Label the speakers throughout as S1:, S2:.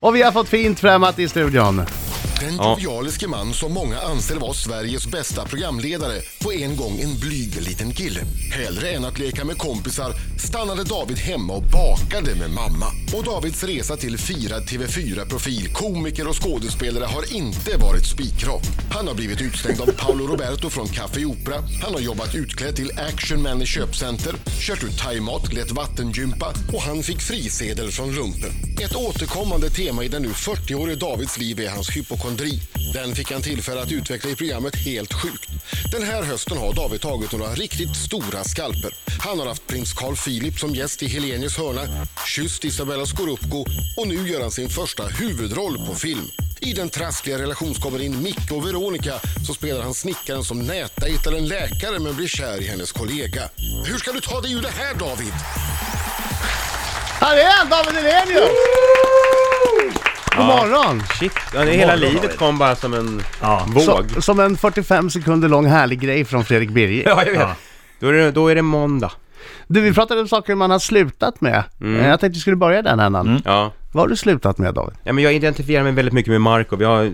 S1: Och vi har fått fint främmat i studion.
S2: Den jovialiske man som många anser vara Sveriges bästa programledare på en gång en blyg liten kille. Hellre än att leka med kompisar stannade David hemma och bakade med mamma. Och Davids resa till firad TV4-profil, komiker och skådespelare har inte varit spikrak. Han har blivit utslängd av Paolo Roberto från Café Opera. Han har jobbat utklädd till actionman i köpcenter, kört ut thaimat, lett vattengympa och han fick frisedel från rumpen. Ett återkommande tema i den nu 40-årige Davids liv är hans hypokondri. Den fick han tillfälle att utveckla i programmet Helt sjukt. Den här hösten har David tagit några riktigt stora skalper. Han har haft prins Carl Philip som gäst i Helenius hörna, kysst Isabella Scorupco och nu gör han sin första huvudroll på film. I den trassliga relationskomedin Micke och Veronica så spelar han snickaren som näta hittar en läkare men blir kär i hennes kollega. Hur ska du ta dig ur det här David?
S1: Här är han, David Hellenius! God morgon!
S3: Shit, ja, det hela livet kom bara som en våg.
S1: Så, som en 45 sekunder lång härlig grej från Fredrik Birger.
S3: Ja, jag vet. Då, är det, då är det måndag.
S1: Du, vi pratade om saker man har slutat med. Eh, Jag tänkte vi skulle börja den här mm.
S3: Ja.
S1: Vad har du slutat med David?
S3: ja, men jag identifierar mig väldigt mycket med Marco. Vi har eh,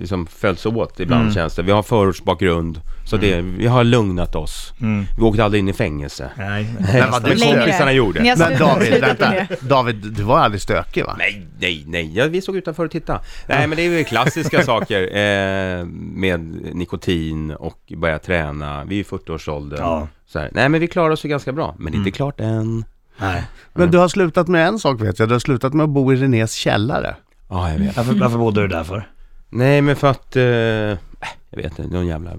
S3: liksom följts åt ibland känns det. Vi har förortsbakgrund. Så det, vi har lugnat oss. Vi åkte aldrig in i fängelse.
S4: Nej.
S1: Men vad
S3: Det
S1: du
S3: är
S1: stökig.
S3: kompisarna gjorde.
S5: Ni har
S1: Men
S5: slutat-
S1: David,
S5: slutat med
S1: vänta.
S5: det.
S1: David, du var aldrig stökig va?
S3: Nej, nej, nej. Ja, vi såg utanför och tittade. Nej, men det är ju klassiska saker eh, med nikotin och börja träna. Vi är i 40-årsåldern.
S4: Ja.
S3: Så här. Nej, men vi klarar oss ju ganska bra. Men det är inte klart än.
S4: Nej.
S1: Men du har slutat med en sak vet jag. Du har slutat med att bo i Renés källare.
S3: Ja, jag vet.
S4: Varför, varför bodde du där för?
S3: Nej men för att, eh, jag vet inte, någon jävla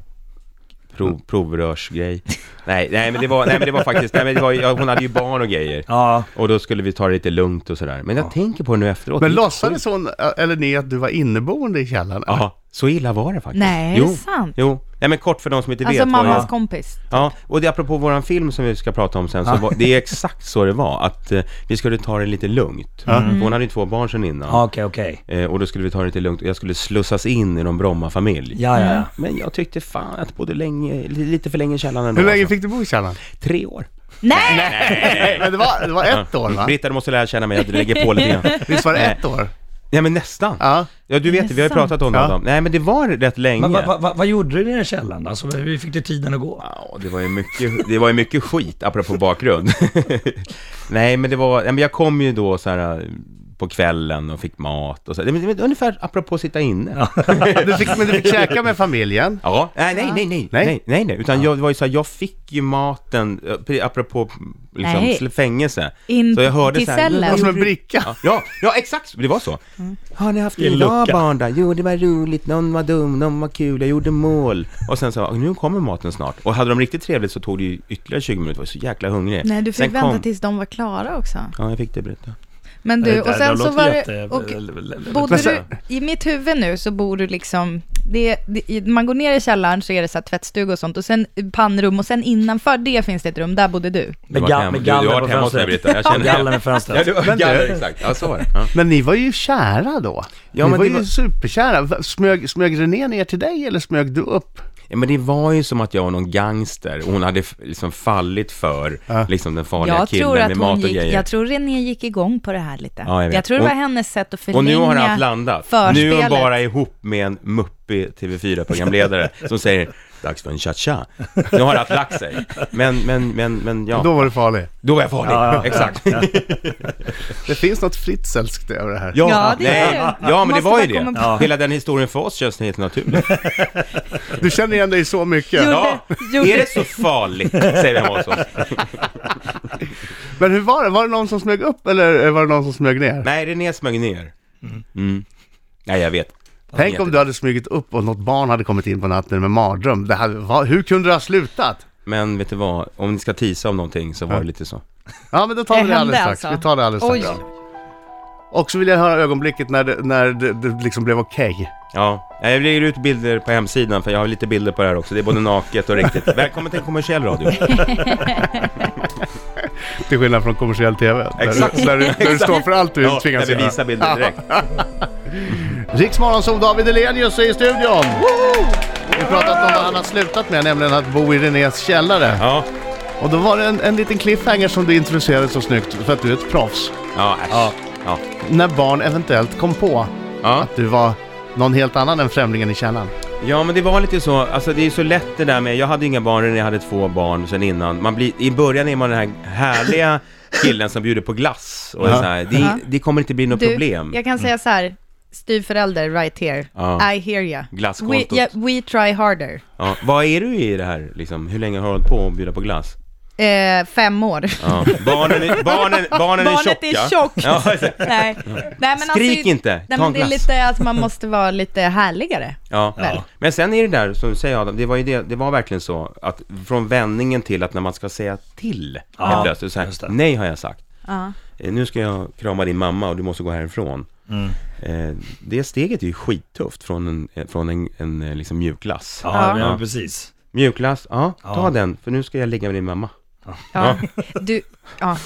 S3: prov, provrörsgrej nej, nej men det var, nej men det var faktiskt, nej men det var, ja, hon hade ju barn och grejer
S4: Ja.
S3: Och då skulle vi ta det lite lugnt och sådär, men jag tänker på det nu efteråt
S1: Men
S3: Det är
S1: låtsades
S3: sjukt.
S1: hon, eh, eller ni, att du var inneboende i källaren?
S3: Ja, så illa var det faktiskt
S5: Nej, är
S3: jo,
S5: det sant?
S3: Jo, nej men kort för de som inte
S5: Alltså
S3: vet vad
S5: mammas
S3: jag-
S5: kompis.
S3: Ja, och det är apropå våran film som vi ska prata om sen, så var, det är exakt så det var, att eh, vi skulle ta det lite lugnt För Hon hade ju två barn sen innan
S4: Ja, Okej, okej.
S3: eh, Och då skulle vi ta det lite lugnt, och jag skulle slussas in i någon Bromma-familj
S4: Ja, ja, ja.
S3: Men jag tyckte fan att både länge, lite för länge i källaren ändå,
S1: Hur länge
S3: alltså.
S1: fick du bo i källaren?
S3: Tre år.
S5: Nej!
S1: Men det var, det var ett år va?
S3: Britta, du måste lära känna mig, jag lägger på lite grann.
S1: Visst var det ett år?
S3: Nej men nästan.
S1: Ja.
S3: Ja du vet, vi har ju
S5: Nästan.
S3: pratat om det
S1: Ja.
S3: Adam. Nej men det var rätt länge.
S4: Men vad va, va, vad gjorde du i den här källaren alltså, Hur fick du tiden att gå?
S3: Ja, det var ju mycket, det var ju mycket skit, apropå bakgrund. nej men det var, nej, men jag kom ju då så här eh, på kvällen och fick mat och så. Det var ungefär apropå sitta inne. Ja.
S1: Du fick, men du fick käka med familjen.
S3: Nej, nej, nej, nej,
S1: Nej.
S3: nej, nej, nej. Utan jag, det var ju så här, jag fick ju maten, eh, pre- apropå liksom,
S5: Nej.
S3: sl- fängelse.
S5: In
S3: så jag hörde
S5: till
S3: så här,
S5: cellen.
S1: Det var som en bricka.
S3: Ja, ja, ja exakt, det var så. Mm. Har ni haft
S4: I en
S3: en bra
S4: lucka.
S3: barn då? Jo, det var roligt, någon var dum, någon var kul, jag gjorde mål. Och sen så, "Ah, nu kommer maten snart. Och hade de riktigt trevligt så tog det ju ytterligare 20 minuter, jag var så jäkla hungrig.
S5: Nej, du fick
S3: sen
S5: vänta
S3: kom...
S5: tills de var klara också.
S3: Ja, jag fick det berätta.
S5: Men du, och sen så
S4: låter
S5: var det...
S4: jätte-
S5: Och
S1: Men
S5: bodde
S1: sen-
S5: du... I mitt huvud nu så bor du liksom... Det, det, i- man går ner i källaren så är det så här tvättstuga och sånt och sen pannrum och sen innanför det finns det ett rum, där bodde du.
S3: Du
S4: Med,
S3: har varit
S4: ga-
S3: hemma-
S4: med
S3: du- du har
S4: galler på
S3: varit hemma hos mig,
S4: fönstret.
S3: Britta, jag känner det.
S4: galler med
S3: Ja,
S4: fönstret.
S3: du var galler, exakt. Ja, så var det. Ja.
S1: Men ni var ju kära då.
S3: Ja,
S1: ni
S3: men
S1: var
S3: det
S1: ju
S3: var-
S1: superkära. Va- Smög, smög René ner till dig eller smög du upp?
S3: Ja, men det var ju som att jag var någon gangster och hon hade f- liksom fallit för liksom den farliga
S5: Jag
S3: killen
S5: tror att
S3: med mat
S5: hon
S3: och
S5: gick...
S3: grejer.
S5: Jag tror René gick igång på det här lite.
S3: Ja, jag vet.
S5: jag tror det var
S3: Och-
S5: hennes sätt att förlänga
S3: Och nu har allt landat. Nu är
S5: förspelet.
S3: hon bara ihop med en muppig TV4-programledare som säger Dags för en cha-cha. Nu har allt lagt sig. Men, men, men, men ja.
S1: Då
S3: Då,
S1: var du farlig.
S3: var jag farlig.
S4: Ja, ja.
S3: Exakt. Ja,
S1: Det finns något fritzelskt över det här.
S5: Ja, det är det.
S3: nej. ja men
S5: Måste
S3: det var ju
S5: bara
S3: det.
S5: komma på-
S3: Hela den historien för oss känns helt naturlig.
S1: Du känner igen dig så mycket.
S5: Jo.
S3: Ja.
S5: Gjorde-
S3: Är det så farligt? Säger vi hemma hos oss.
S1: Men hur var det? Var det någon som smög upp eller var det någon som smög ner?
S3: Nej, René smög ner. Mm. Nej, jag vet.
S1: Tänk om du hade smugit upp och något barn hade kommit in på natten med mardröm. Det hade, va, hur kunde det ha slutat?
S3: Men vet du vad? Om ni ska tisa om någonting så var det lite så.
S1: Ja, men då tar
S5: Det
S1: vi det alldeles
S5: hände
S1: strax.
S5: alltså.
S1: Vi tar det alldeles strax.
S5: Oj.
S1: Och så vill jag höra ögonblicket när det, när det, det liksom blev okej.
S3: Ja, jag lägger ut bilder på hemsidan för jag har lite bilder på det här också. Det är både naket och riktigt. Välkommen till kommersiell radio.
S1: Till skillnad från kommersiell TV. där du-
S3: Exakt.
S1: Där, du- där du står för allt du
S3: Ja,
S1: tvingas
S3: jag vill visa bilder direkt.
S1: Riksmorgon som David Elenius är i studion. Vi har pratat om vad han har slutat med, nämligen att bo i Renés källare.
S3: Ja,
S1: Och då var det en, en liten cliffhanger som du introducerade så snyggt, för att du är ett proffs.
S3: ja, äsch. ja.
S1: när barn eventuellt kom på
S3: Ja.
S1: att du var någon helt annan än främlingen i källaren.
S3: Ja, men det var lite så. Alltså, det är så lätt det där med... Jag hade inga barn när jag hade två barn sen innan. Man blir, I början är man den här härliga killen som bjuder på glass. Och är
S1: Ja.
S3: så här, det,
S5: Ja.
S3: det kommer inte bli något problem. Mm.
S5: jag kan säga så här, styvförälder right here.
S3: Ja.
S5: I hear ya. We,
S3: Glasskontot.
S5: yeah, we try harder.
S3: Ja. Vad är du i det här, liksom? Hur länge har du hållit på att bjuda på glass?
S5: Eh, fem år.
S3: Ja. Barnen, är, barnen, barnen är tjocka.
S5: Barnet är tjockt.
S3: Ja, alltså.
S5: Nej. Nej, men
S3: Skrik
S5: alltså,
S3: inte.
S5: Nej,
S3: Ta en
S5: men det är
S3: glass.
S5: lite att man måste vara lite härligare.
S3: Ja.
S5: Väl.
S3: Men sen är det där, som du säger Adam, det var ju det, det var verkligen så att från vändningen till att när man ska säga till,
S4: Ja,
S3: helt plötsligt så
S4: just
S3: här,
S4: det.
S3: nej har jag sagt.
S5: Ja.
S3: Eh, Nu ska jag krama din mamma och du måste gå härifrån. Eh, det steget är ju skittufft från en, eh, från en, en eh, liksom mjukglass.
S4: Ja,
S3: Ja.
S4: Men, precis.
S3: Mjukglass, ja, ta
S4: Ja.
S3: den, för nu ska jag ligga med din mamma.
S5: Ja. Du, ja.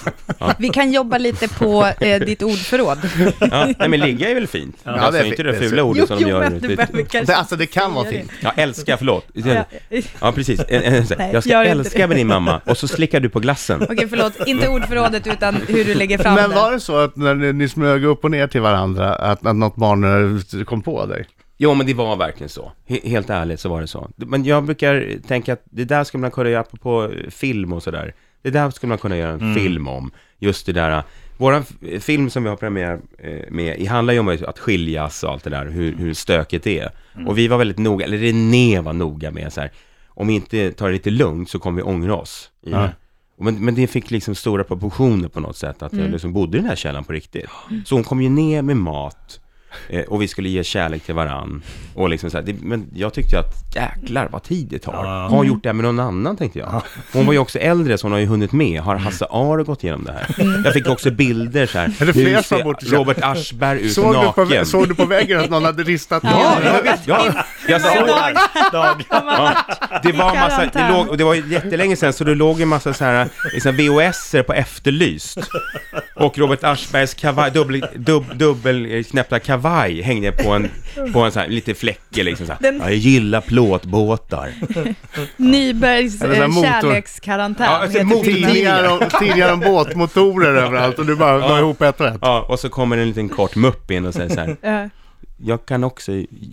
S5: Vi kan jobba lite på eh, ditt ordförråd.
S3: Ja, nej men ligga är väl fint? Ja, alltså,
S1: det är
S3: inte
S1: fint.
S3: det
S1: Det är
S3: fula
S5: Jo,
S3: ordet som de
S5: jo,
S3: gör.
S5: men du
S3: Det-
S5: behöver kanske...
S1: Det, alltså det kan vara
S5: säga
S1: fint.
S3: Ja, älska, förlåt. Ja,
S5: Ja.
S3: precis. Eh, eh, så här,
S5: Nej,
S3: jag ska
S5: gör inte
S3: älska
S5: det.
S3: med din mamma och så slickar du på glassen.
S5: Okej, förlåt. Inte ordförrådet, utan hur du lägger fram
S1: Men
S5: det.
S1: var det så att när ni, ni smög upp och ner till varandra, att, att något barn eh, kom på dig?
S3: Jo, men det var verkligen så. He- helt ärligt så var det så. Men jag brukar tänka att det där skulle man kunna göra på film och sådär. Det där skulle man kunna göra en film om. Just det där. eh, Vår film som vi har premiär eh, med, i handlar ju om att skiljas och allt det där, hur, hur stökigt det är. Och vi var väldigt noga, eller René var noga med så här, om vi inte tar det lite lugnt så kommer vi ångra oss. I det. Och Men, men det fick liksom stora proportioner på något sätt, att jag liksom bodde i den här källaren på riktigt. Mm. Så hon kom ju ner med mat, eh, och vi skulle ge kärlek till varann. Och liksom så här, det, men jag tyckte att jäklar vad tid det tar.
S4: Ja.
S3: Har gjort det här med någon annan tänkte jag. Hon var ju också äldre så hon har ju hunnit med.
S1: Mm.
S3: Har Hasse Aro gått igenom det här? Jag fick också bilder så här.
S1: Är det fler
S3: Nu
S1: som
S3: ser
S1: bort-
S3: Robert Aschberg ut
S1: Såg du,
S3: naken.
S1: på, såg du på väggen att någon hade ristat
S3: Ja,
S1: ner dig?
S3: jag vet. Ja, jag såg
S4: Dag, dag.
S3: Ja, det var
S5: I
S3: massa, det,
S5: karantän.
S3: låg, och det var ju jättelänge sedan, så det låg en massa så här, liksom vhs på efterlyst. Och Robert Aschbergs kavaj, dubbel, dubb, dubbelknäppta kavaj hängde på en, på en så här, lite fläckig liksom så här.
S5: Den-
S3: Ja, jag gillar plåtbåtar.
S5: Nybergs
S1: Eller sån här
S5: eh,
S1: motor-
S5: kärlekskarantän.
S3: Ja, alltså,
S5: heter
S3: motor-
S5: filmen.
S1: Tidningar om, tidningar om båtmotorer överallt och du bara la ihop ett och ett.
S3: Ja, och så kommer en liten kort mupp in och säger så här,
S5: Eh,
S3: jag kan också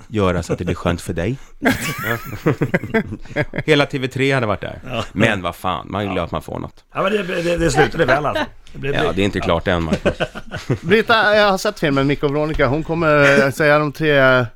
S3: göra så att det blir skönt för dig. Ja. Hela TV3 hade vart där. Men vad fan, man är glad att man får något.
S4: Ja, men det, det, det slutade väl alltså. Det blev
S3: Ja, det är inte klart än, Marcus.
S1: Britta, jag har sett filmen Micke och Veronica. Hon kommer eh, säga de tre...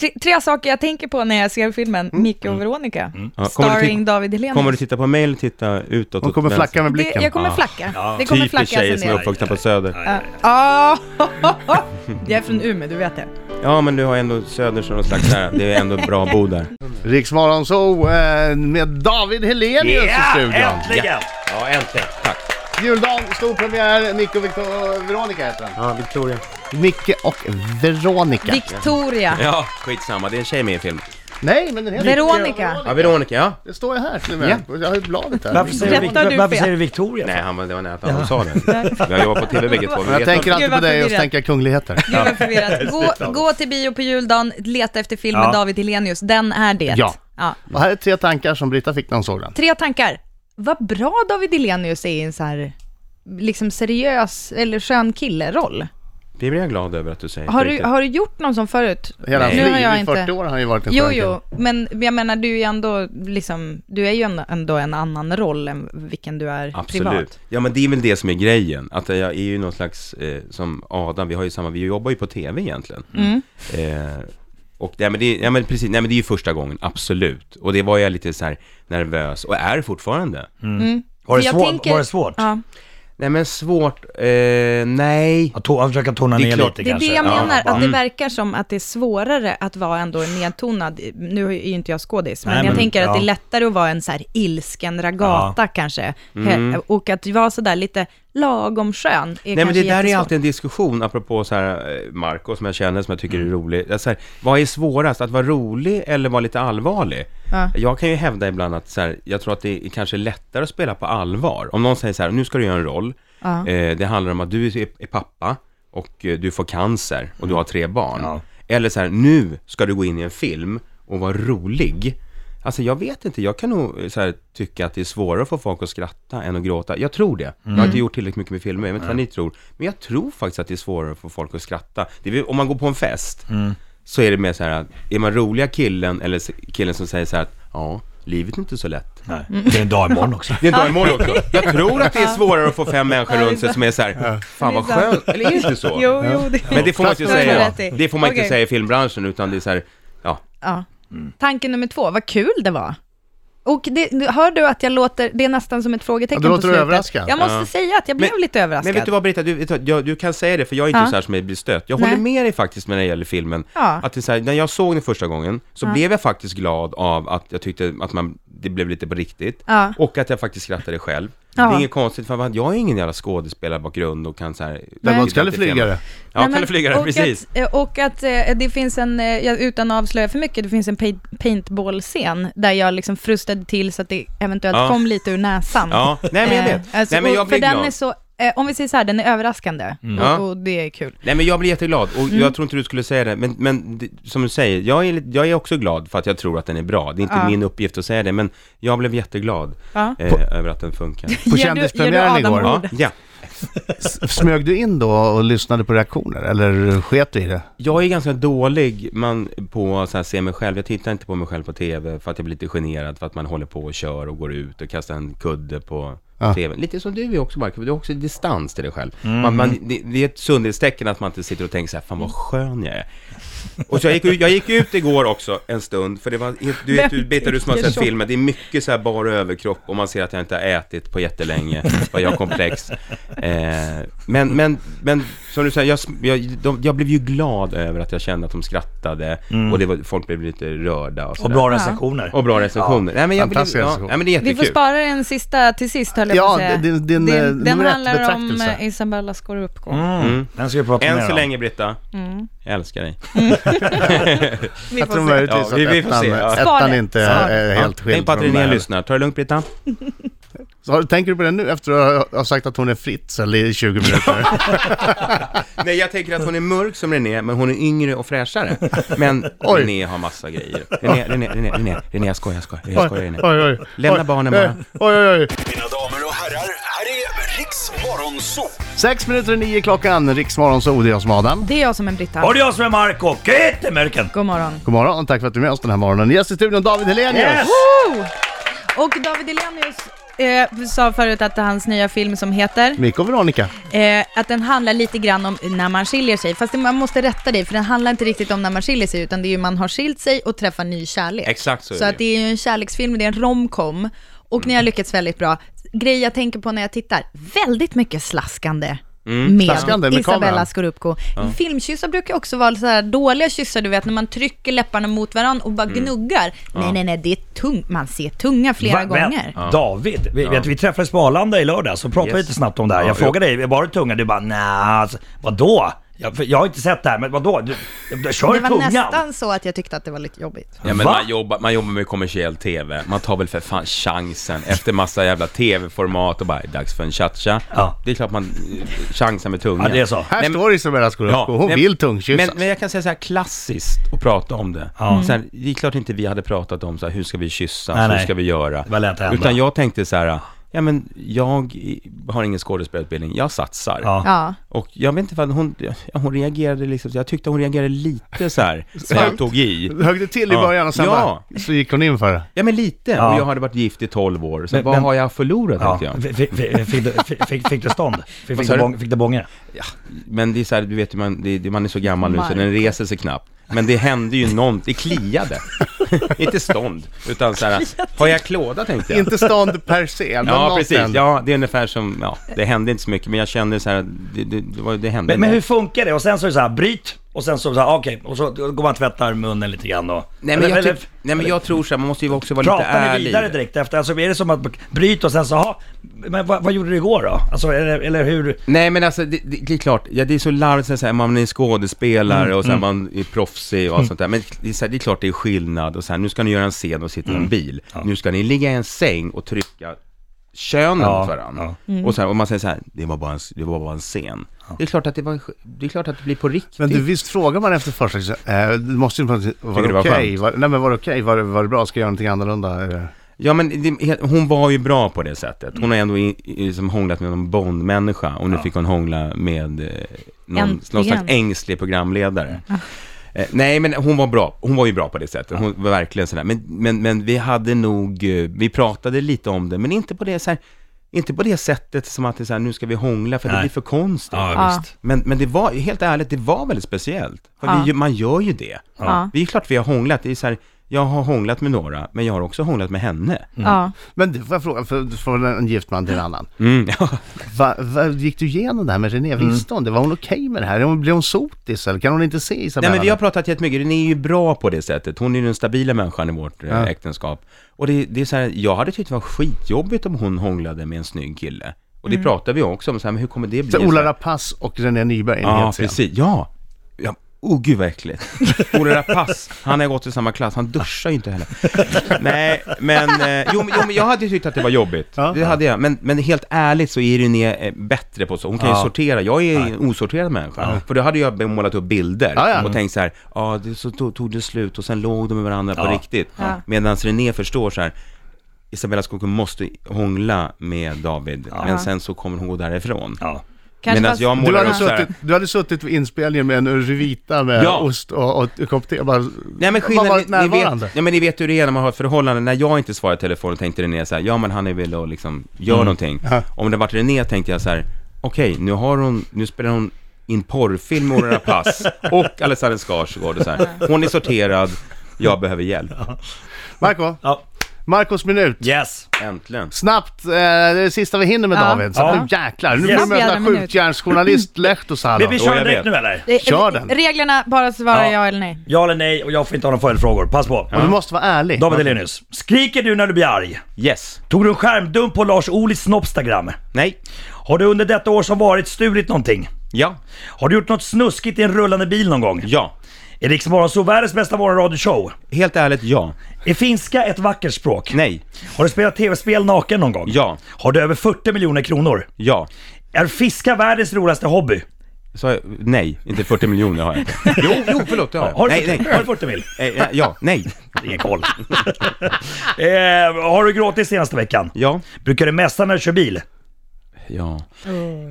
S5: tre, tre saker jag tänker på när jag ser filmen Micke och Veronica.
S3: Mm. Ja, kommer du till-
S5: Starring David Helenius.
S3: Kommer du titta på mig eller titta utåt?
S1: Hon
S3: åt
S1: kommer
S3: vänster?
S1: flacka med blicken.
S5: Det, jag kommer
S3: Ah.
S5: flacka.
S4: Ja.
S5: Det kommer
S3: Typiskt
S5: flackas
S3: tjejer
S5: en
S3: som är
S5: del.
S3: uppvuxna på Söder.
S4: Ja,
S5: Ah, jag är från Umeå, du vet det.
S3: Ja, men du har ändå Söder som någon slags där. Det är ändå bra att bo där.
S1: Riksmorgon så eh, med David Helenius i studion.
S4: äntligen!
S3: Ja, äntligen. Tack.
S1: Juldagen, stor premiär. Micke och Victor, Veronica heter den.
S3: Ja, Victoria.
S1: Micke och Veronica.
S5: Victoria.
S3: Ja, skitsamma. Det är en tjej med i filmen.
S1: Nej, men den heter
S5: Veronica.
S3: Ja, Veronica, ja.
S1: Det står ju här till och med. Jag har ju bladet här.
S4: Varför säger, du,
S5: Rättar du
S4: Vic- varför
S5: fel?
S4: säger du Victoria?
S3: Nej, han var, det var nära att han sa det. Vi har jobbat på TV bägge två. Vi
S1: Men jag
S3: vet
S1: tänker
S3: att...
S1: alltid på
S5: Gud, vad
S1: dig och så
S5: förvirrat.
S1: tänker jag kungligheter.
S5: Gud vad förvirrat. Gå, gå till bio på juldagen, leta efter filmen
S4: Ja.
S5: David Helenius. Den är det.
S1: Ja. Och här är tre tankar som Britta fick när hon såg den.
S5: Tre tankar. Vad bra David Helenius är i en så här liksom seriös eller skön killeroll.
S3: Det blir jag glad över att du säger.
S5: Har
S3: på
S5: du,
S3: riktigt.
S5: har du gjort någon sån förut?
S1: Hela hans
S5: Nu har
S1: liv,
S5: jag
S1: i 40 år har han ju varit en
S5: Jo,
S1: skön
S5: jo, men jag menar du är ju ändå, liksom, du är ju en- ändå en annan roll än vilken du är
S3: Absolut.
S5: privat.
S3: Ja, men det är väl det som är grejen. Att jag är ju någon slags, eh, som Adam, vi har ju samma, vi jobbar ju på TV egentligen.
S5: Mm.
S3: Eh, och ja, men det, ja, men precis, nej, men det är ju första gången, absolut. Och det var jag lite så här nervös, och är fortfarande.
S4: Var det
S5: Jag
S4: svårt?
S5: tänker-
S4: Var det svårt?
S5: Ja.
S3: Nej, men svårt, eh, nej.
S4: Att to- att försöka tona
S3: Det är
S4: ner
S3: klart.
S4: lite
S5: Det är
S4: kanske?
S5: det jag
S4: Ja,
S5: menar,
S4: bara-
S3: Mm.
S5: att det verkar som att det är svårare att vara ändå en nedtonad, nu är ju inte jag skådis, men,
S4: Nej,
S5: jag
S4: men-
S5: tänker att
S4: ja.
S5: det är lättare att vara en så här ilsken ragata kanske.
S3: Mm.
S5: He- Och att vara sådär lite lagom skön är
S3: Nej men
S5: kanske
S3: det där är
S5: jättesvårt.
S3: alltid en diskussion, apropå så här, eh, Marco som jag känner, som jag tycker är rolig. Det är Så här, vad är svårast, att vara rolig eller vara lite allvarlig?
S5: Ja.
S3: Jag kan ju hävda ibland att så här, jag tror att det är kanske lättare att spela på allvar. Om någon säger så här, nu ska du göra en roll,
S5: Ja.
S3: eh, det handlar om att du är, är pappa och eh, du får cancer och du har tre barn.
S4: Ja.
S3: Eller så här, nu ska du gå in i en film och vara rolig. Alltså jag vet inte, jag kan nog eh, så här, tycka att det är svårare att få folk att skratta än att gråta. Jag tror det. Jag har inte gjort tillräckligt mycket med filmer, jag vet inte vad ni tror. Men jag tror faktiskt att det är svårare att få folk att skratta. Det är, väl- om man går på en fest, så är det mer så här att, är man roliga killen eller s- killen som säger så här att, ja, livet är inte så lätt.
S6: Nej. Det är en dag imorgon också.
S3: Det är dag imorgon också. Jag tror att det är svårare att få fem människor runt sig som är så här, fan vad skönt, eller är det inte så?
S5: Jo, jo, det...
S3: Men det får man inte
S5: Tack. Det har du
S3: säga,
S5: rätt i.
S3: det får man inte
S5: Okej.
S3: säga i filmbranschen utan det är så här, ja,
S5: Ja.
S3: Mm.
S5: Tanke nummer två, vad kul det var. Och det, hör du att jag låter, det är nästan som ett frågetecken
S1: Ja, du låter
S5: på slutet.
S1: överraskad.
S5: Jag måste
S3: Ja.
S5: säga att jag blev
S3: Men-
S5: lite överraskad.
S3: Men vet du vad Britta, du, vet du vad, jag, du kan säga det för jag är inte
S5: Ja.
S3: så här som jag blir stött. Jag
S5: Nej.
S3: håller med dig faktiskt när det gäller filmen.
S5: Ja.
S3: Att det är så här, när jag såg den första gången så blev jag faktiskt glad av att jag tyckte att man, det blev lite på riktigt.
S5: Ja.
S3: Och att jag faktiskt skrattade själv. Det
S5: Ja.
S3: är inget konstigt för vad- jag har ingen jävla skådespelarbakgrund och kan så här...
S1: Däremot Kalle Flygare.
S3: Ja,
S5: Nej, men-
S3: Kalle Flygare,
S5: och
S3: precis.
S5: Att, eh, och att eh, det finns en, eh, jag- utan att avslöja för mycket, det finns en paint- paintball-scen där jag liksom frustade till så att det eventuellt
S3: Ja.
S5: kom lite ur näsan.
S3: Ja, nej men jag
S5: Eh,
S3: vet.
S5: alltså,
S3: nej men
S5: och-
S3: jag
S5: för
S3: blir glad.
S5: den är så, eh, om vi säger så här, den är överraskande
S3: Mm. Ja.
S5: och, och det är kul.
S3: Nej men jag blir jätteglad och
S5: Mm.
S3: jag tror inte du skulle säga det, men, men det, som du säger, jag är, lite- jag är också glad för att jag tror att den är bra. Det är inte
S5: Ja.
S3: min uppgift att säga det, men jag blev jätteglad
S5: Ja.
S3: eh, över att den funkar.
S1: På
S5: Ger du-
S1: kändispremiären
S5: ger du
S1: igår.
S5: Adam
S3: Ja,
S5: ord?
S3: ja.
S1: S- Smög du in då och lyssnade på reaktioner eller sket du i det?
S3: Jag är ganska dålig man, på att så här se mig själv. Jag tittar inte på mig själv på TV för att jag blir lite generad för att man håller på och kör och går ut och kastar en kudde på
S1: Ja.
S3: TV. Lite som du är också Marco, du har också distans till dig själv. Man, man, det, det är ett sundhetstecken att man inte sitter och tänker så här, fan vad skön jag är. Och så jag, gick, ut- jag gick ut igår också en stund, för det var, du vet du, Britta, du som har
S5: tycker
S3: sett
S5: så?
S3: filmen, det är mycket så här bara överkropp och man ser att jag inte har ätit på jättelänge, vad jag har komplex. Eh, men, men, men som du säger, jag, sm- jag, de, jag blev ju glad över att jag kände att de skrattade
S1: Mm.
S3: och det var, folk blev lite rörda och, så
S6: Och
S3: där.
S6: bra recensioner.
S3: och bra recensioner. Nej, men jag blev,
S1: Fantastiska
S3: ja,
S1: recensioner.
S3: nej, men det är
S5: Vi får
S3: jättekul.
S5: spara den sista till sist, höll jag
S1: Ja,
S5: på att säga.
S1: din- din, eh,
S5: den
S1: nummer ett
S5: handlar om
S1: betraktelse.
S5: eh, Isabella Scorupco.
S6: Mm. Den ska vi prata mer
S3: Än så
S6: om.
S3: länge Britta,
S5: Mm.
S3: jag älskar dig.
S5: Vi
S1: Jag
S5: får
S1: tror
S5: se.
S1: möjligtvis
S3: Ja, vi- vi får
S1: att
S3: se, ja.
S1: ettan,
S5: Svaret.
S1: ettan inte
S5: Svaret.
S1: är
S3: Ja,
S1: helt skild
S3: Tänk på att
S1: från de
S3: René
S1: där.
S3: lyssnar, ta det lugnt Britta.
S1: Så har- Tänker du på det nu efter att ha sagt att hon är Fritz eller i 20 minuter?
S3: Nej, jag tänker att hon är mörk som René, men hon är yngre och fräschare. Men
S1: Oj.
S3: René har massa grejer. René, René, René, René, René, jag skojar, jag skojar, jag skojar René.
S1: oj, oj.
S3: Lämna barnen bara.
S1: Eh, Oj, oj, oj.
S7: Mina damer och herrar, här är Riks Morgonzoo!
S1: Sex minuter i nio klockan, Riksmorgon, så det är jag som Adam.
S5: Det är jag som är en britta.
S6: Och det är jag som är Marco Kettemörken.
S5: God morgon.
S1: God morgon och tack för att du är med oss den här morgonen. Gäst i studion, David Hellenius.
S6: Yes!
S5: Woo! Och David Elenius eh, sa förut att hans nya film som heter,
S1: Micke och Veronica.
S5: eh, att den handlar lite grann om när man skiljer sig. Fast det- man måste rätta dig, för den handlar inte riktigt om när man skiljer sig, utan det är ju man har skilt sig och träffar ny kärlek.
S3: Exakt så är
S5: Så
S3: det. Mm.
S5: att det är ju en kärleksfilm, det är en romcom. Och ni har lyckats väldigt bra. Grej jag tänker på när jag tittar, väldigt mycket slaskande.
S3: Mm.
S5: Med,
S1: Slaskande med
S5: Isabella
S1: kameran.
S5: Scorupco. Filmkyssar brukar ju också vara så här dåliga kyssar, du vet när man trycker läpparna mot varandra och bara
S3: Mm.
S5: gnuggar. Nej, nej, nej, det är tung, man ser tunga flera
S6: Va- men,
S5: gånger.
S6: David, vi, vet, vi träffades på Arlanda i lördag så pratade vi
S3: Yes.
S6: lite snabbt om det här.
S3: Ja,
S6: Jag
S3: jo.
S6: frågade dig, var det tunga? Du bara nja, alltså, vadå? Jag, för jag har inte sett det här, men vadå? Du, du, du, kör
S5: Det var
S6: tungan!
S5: nästan så att jag tyckte att det var lite jobbigt.
S3: Ja, men
S6: Va?
S3: man, jobbar, man jobbar med kommersiell TV, man tar väl för fan chansen efter massa jävla TV-format och bara, dags för en cha-cha.
S6: Ja.
S3: Det är klart man eh, chansar med tungan.
S6: Ja, det är så.
S1: Här
S3: Nej, men-
S1: står Isabella Scorupco, hon
S3: nej,
S1: vill tungkyssas.
S3: Men, men jag kan säga så här klassiskt att prata om det. Så här, det är klart inte vi hade pratat om så här, hur ska vi kyssas,
S6: Mm. Nej,
S3: hur
S6: nej.
S3: ska vi göra.
S6: Det var lätt att hända.
S3: Utan jag tänkte så här, ja men jag i- har ingen skådespelarutbildning, jag satsar.
S6: Ja.
S5: Ja.
S3: Och jag vet inte vad hon, ja, hon reagerade liksom, jag tyckte hon reagerade lite så här, när jag tog i.
S1: Högg det till i
S3: Ja.
S1: början och sen
S3: Ja.
S1: bara, så gick hon in för det.
S3: Ja men lite,
S6: Ja.
S3: och jag hade varit gift i 12 år, så
S6: Men-
S3: vad
S6: men-
S3: har jag förlorat
S6: Ja.
S3: tänkte jag.
S6: Fick, fick, fick, du- fick, fick, fick du stånd? Fick, fick,
S3: sa
S6: du
S3: du?
S6: bång, fick du bånge?
S3: Men det är så här, du vet ju, man, det, det- man är så gammal nu så den reser sig knappt. Men det hände ju nånt, det kliade. Inte stånd, utan så här, har jag klåda tänkte jag.
S1: Inte stånd per se, men
S3: Ja,
S1: något
S3: precis.
S1: ändå.
S3: Ja, det är ungefär som, ja, det hände inte så mycket, men jag kände så här, det, det, det, var- det hände.
S6: Men, men
S3: inte.
S6: hur funkar det? Och sen så är det så här, bryt! Och sen så, så här, okej, och så går man och tvättar munnen lite grann och...
S3: nej, men jag, typ-
S6: eller-
S3: tyck, nej, men jag tror så här, man måste ju också vara lite
S6: Pratar ni
S3: ärlig.
S6: vidare direkt efter? Alltså är det som att bryt och sen så, ha, men vad, vad gjorde du igår då? Alltså, eller, eller hur?
S3: Nej men alltså det, det, det är klart, ja, det är så larvigt så här, så här, man är skådespelare
S1: Mm,
S3: och så här, man är proffsig och allt sånt där. Men det är, så här, det är klart det är skillnad och så här, nu ska ni göra en scen och
S1: Mm.
S3: sitta i en bil. Nu ska ni ligga i en säng och trycka könen
S6: Ja,
S3: mot varandra. Och, så här, och man säger så här, det var bara en, det var bara en scen. Det är klart att det, var, det, är klart att det blir på riktigt.
S1: Men du, visst frågar man efter första kyssen? Eh, du måste ju på något sätt- var
S3: Tycker
S1: det
S3: det var
S1: okej?
S3: skönt?
S1: Var, nej men var det okej? Var, det- var det bra? Ska jag göra någonting annorlunda? Eh,
S3: Ja men det, he- hon var ju bra på det sättet. Hon har ändå i, i, liksom hånglat med någon Bond-människa och nu fick hon hångla med eh, någon, någon slags
S5: Äntligen.
S3: ängslig programledare. Eh, nej men hon var bra, hon var ju bra på det sättet. Hon var verkligen sådär. Men, men, men vi hade nog, eh, vi pratade lite om det, men inte på det så här, inte på det sättet som att det är så här, nu ska vi hångla för det
S6: Nej.
S3: blir för konstigt.
S5: Ja. visst.
S3: Men, men det var, helt ärligt, det var väldigt speciellt. För
S5: Ja.
S3: vi, ju- man gör ju det.
S5: Ja.
S3: Det är klart vi har hånglat, det är så här, jag har hånglat med några, men jag har också hånglat med henne.
S5: Ja.
S1: Men du, får jag fråga, för- från en gift man till en annan.
S3: Mm, ja.
S1: Va, va, gick du igenom det här med
S3: Mm.
S1: René? Visste hon det? Var hon okej med det här? Hon- Blev hon sotis eller kan hon inte se Isabella?
S3: Nej men vi har pratat jättemycket, den är ju bra på det sättet. Hon är ju den stabila människan i vårt eh,
S1: Ja.
S3: äktenskap. Och det, det är så här, jag hade tyckt det var skitjobbigt om hon hånglade med en snygg kille. Och det pratade vi också om, så här, men hur kommer det bli?
S1: Så
S3: Så
S1: Ola
S3: här-
S1: Rapace och René Nyberg i en
S3: Ja,
S1: het scen.
S3: precis. Ja. ja. Oh, gud vad äckligt. Ola Rapace, han har gått i samma klass, han duschar ju inte heller. Nej, men, eh, jo, men- jo, men jag hade ju tyckt att det var jobbigt.
S1: Ja.
S3: Det hade jag. Men, men helt ärligt så är René eh, bättre på så. Hon kan ju sortera. Jag är en osorterad människa. För då hade jag målat upp bilder
S1: Ja, ja.
S3: och tänkt så här, ja, det så tog, tog det slut och sen låg de med varandra på riktigt.
S5: Ja.
S3: Medan René förstår så här, Isabella Skog måste hångla med David, men sen så kommer hon gå därifrån.
S6: Ja.
S5: Kanske
S3: Medan
S5: fast-
S3: jag
S1: Du
S3: målar
S1: hade,
S3: upp så här,
S1: suttit, du hade suttit vid inspelningen med en Urivita med
S3: Ja.
S1: ost och, och en kopp te och bara...
S3: Nej men
S1: Man
S3: skillnaden,
S1: varit
S3: ni
S1: närvarande.
S3: vet, ja, men ni vet hur det är när man har ett förhållande, när jag inte svarar i telefon tänkte René så här, ja men han är väl och liksom, gör
S6: Mm.
S3: någonting. Om det varit René tänkte jag så här, okej nu har hon, nu spelar hon in porrfilm med Ola Rapace och Alexander Skarsgård och så här. Hon är sorterad, jag behöver hjälp.
S1: Marco,
S6: Ja.
S1: Marcos minut.
S6: Yes.
S3: Äntligen.
S1: Snabbt, eh, det är det sista vi hinner med
S5: Ja.
S1: David. Så
S6: Ja.
S1: nu jäklar, nu
S6: Yes.
S1: får vi möta
S5: Jävla minut.
S1: skjutjärnsjournalist Lehtosalo.
S6: Vi, vi
S3: Jo,
S6: kör
S3: jag
S6: direkt
S3: vet.
S6: nu eller?
S5: Det-
S1: Kör den.
S5: Reglerna, bara svara
S6: Ja.
S5: ja eller nej.
S6: Ja eller nej och jag får inte ha några följdfrågor. Pass på. Mm.
S1: Och du måste vara ärlig.
S6: David Hellenius. Skriker du när du blir arg?
S3: Yes.
S6: Tog du en skärmdump på Lars Ohlys Snopstagram?
S3: Nej.
S6: Har du under detta år som varit stulit någonting?
S3: Ja.
S6: Har du gjort något snuskigt i en rullande bil någon gång?
S3: Ja.
S6: Är Rix Morgonzoo världens bästa morgonradioshow?
S3: Helt ärligt, ja.
S6: Är finska ett vackert språk?
S3: Nej.
S6: Har du spelat tv-spel naken någon gång?
S3: Ja.
S6: Har du över 40 miljoner kronor?
S3: Ja.
S6: Är fiska världens roligaste hobby?
S3: Så, nej, inte 40 miljoner har jag inte. Jo, jo, förlåt, det har jag.
S6: Har du
S3: nej,
S6: 40
S3: nej.
S6: Har du 40 mil?
S3: Eh, Ja, nej.
S6: Ingen koll. eh, har du gråtit senaste veckan?
S3: Ja.
S6: Brukar du mässa när du kör bil?
S3: Ja.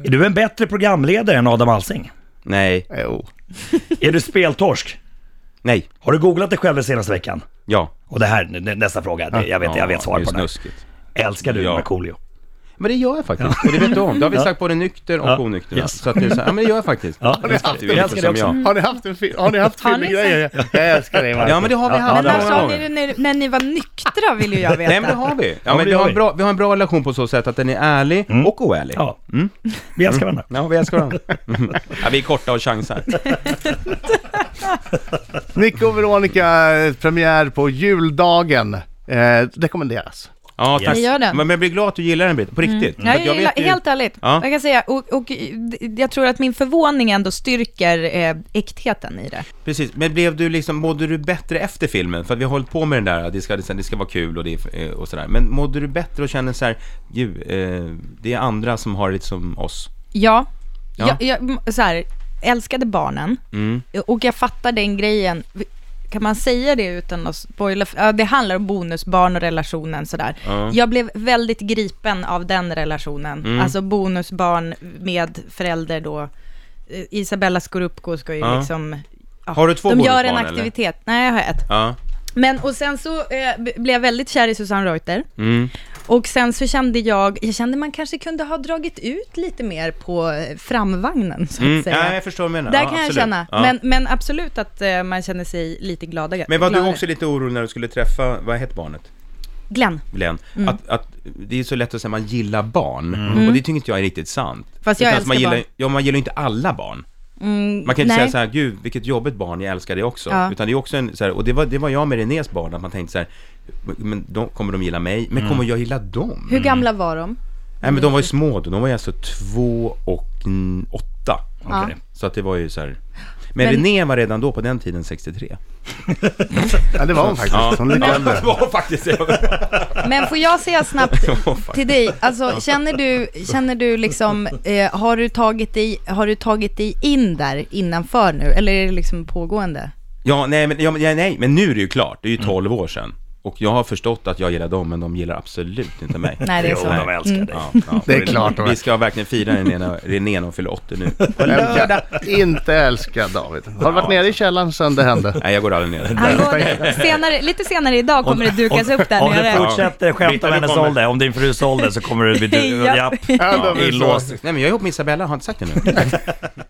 S6: Är du en bättre programledare än Adam Alsing?
S3: Nej.
S1: Jo.
S6: Är du speltorsk?
S3: Nej.
S6: Har du googlat dig själv den senaste veckan?
S3: Ja.
S6: Och det här, nä- nästa fråga. Det, jag vet, jag vet svaret på den. här.
S3: snuskigt.
S6: Älskar du
S3: Ja.
S6: Markoolio?
S3: Men det gör jag faktiskt. Och det vet du om. Det har vi sagt både nykter och
S6: Ja.
S3: onykter.
S6: Yes.
S3: Så att det är så här, ja men det gör jag faktiskt.
S6: Ja.
S3: Det är
S6: Jag älskar det
S3: som
S6: också.
S3: jag.
S1: Har ni haft en film? Har ni haft
S5: Har ni
S1: filmgrejer? Jag älskar dig Marco.
S3: Ja men det har vi
S6: Ja,
S3: haft
S5: Men
S6: det
S5: när
S3: många
S6: var
S5: sa ni det
S3: gånger.
S5: när, när ni var nyktra vill ju jag veta.
S3: Nej men det har vi. Ja, men
S6: det
S3: vi,
S6: gör
S3: har en
S6: vi.
S3: bra, vi har en bra relation på så sätt att den är ärlig och oärlig. Ja.
S6: Ja. Vi älskar varandra.
S3: vi älskar varandra. ja, vi är korta och chansar.
S1: Nico och Veronica, eh, premiär på juldagen. Eh, rekommenderas.
S3: Ja, tack.
S5: Vi gör den.
S3: Men men jag blir glad att du gillar den Britt, på riktigt. För att
S5: Nej, Mm. jag
S3: vet
S5: gillar,
S3: ju-
S5: helt ärligt.
S3: Ja.
S5: Jag kan säga, och, och d- jag tror att min förvåning ändå styrker eh, äktheten i det.
S3: Precis, men blev du liksom, mådde du bättre efter filmen? För att vi har hållit på med den där, att det ska, det ska vara kul och, det, är- och sådär. Men mådde du bättre och kände så här, gud, eh, det är andra som har det som oss?
S5: Ja,
S3: Ja. Mm.
S5: Jag, jag m- så här, älskade barnen och jag fattar den grejen. Kan man säga det utan att spoila? Ja, det handlar om bonusbarn och relationen sådär. Jag blev väldigt gripen av den relationen.
S3: Mm.
S5: Alltså bonusbarn med förälder då. Eh, Isabella Skorupko ska ju
S3: Ja.
S5: liksom... ja,
S3: Har du två
S5: De gör en
S3: bonusbarn, eller?
S5: aktivitet. Nej, jag har ett.
S3: Ja.
S5: Men och sen så eh, b- blev jag väldigt kär i Susanne Reuter.
S3: Mm.
S5: Och sen så kände jag, jag kände man kanske kunde ha dragit ut lite mer på eh, framvagnen så att
S3: Mm.
S5: säga.
S3: Ja, jag förstår vad du menar.
S5: Där
S3: ja,
S5: kan jag
S3: absolut.
S5: känna.
S3: Ja.
S5: Men, men absolut att eh, man känner sig lite glada.
S3: Men var du
S5: gladare.
S3: också lite orolig när du skulle träffa, vad hette barnet?
S5: Glenn.
S3: Glenn.
S5: Mm.
S3: Att, att det är så lätt att säga att man gillar barn, och det tycker inte jag är riktigt sant.
S5: Fast jag
S3: Utan att
S5: älskar
S3: man gillar,
S5: barn.
S3: Ja, man gillar ju inte alla barn. Man kan inte
S5: nej.
S3: säga så här, gud vilket jobbigt barn, jag älskar det också.
S5: Ja.
S3: Utan det är också en, så här, och det var, det var jag med Renés barn, att man tänkte så här, men de, kommer de gilla mig? Men kommer jag gilla dem?
S5: Hur gamla var de?
S3: Nej men de var ju små då, de var ju alltså två och mm, åtta.
S5: Ja.
S3: Så att det var ju så här. Men,
S5: Men-
S3: René var redan då på den tiden 63.
S1: Ja, det var hon faktiskt.
S3: Ja.
S1: Hon är lite äldre.
S3: var faktiskt
S5: Men får jag säga snabbt
S3: Ja, fan.
S5: till dig, alltså känner du, känner du liksom, eh, har, du tagit dig, har du tagit dig in där innanför nu, eller är det liksom pågående?
S3: Ja, nej men, ja, men- ja, nej, men nu är det ju klart. Det är ju 12 år sedan. Och jag har förstått att jag gillar dem, men de gillar absolut inte mig.
S5: Nej, det är
S6: Jo,
S5: så.
S6: de älskar dig.
S3: Ja, ja.
S1: Det är klart, va?
S3: Vi ska verkligen fira René när- René när hon fyller 80 nu.
S1: Vem kan inte älska David? Har du varit nere i källaren sen det hände?
S3: Nej, jag går aldrig ner.
S5: Han går, senare, lite senare idag kommer det dukas upp där
S6: Om du
S5: nere.
S6: fortsätter skämta om
S3: du
S6: hennes
S3: kommer.
S6: ålder, om din frus ålder, så kommer du bli du,
S5: Ja.
S6: japp,
S1: Ja, då blir det så.
S6: inlåst.
S3: Nej, men jag är ihop med Isabella, har jag inte sagt det nu?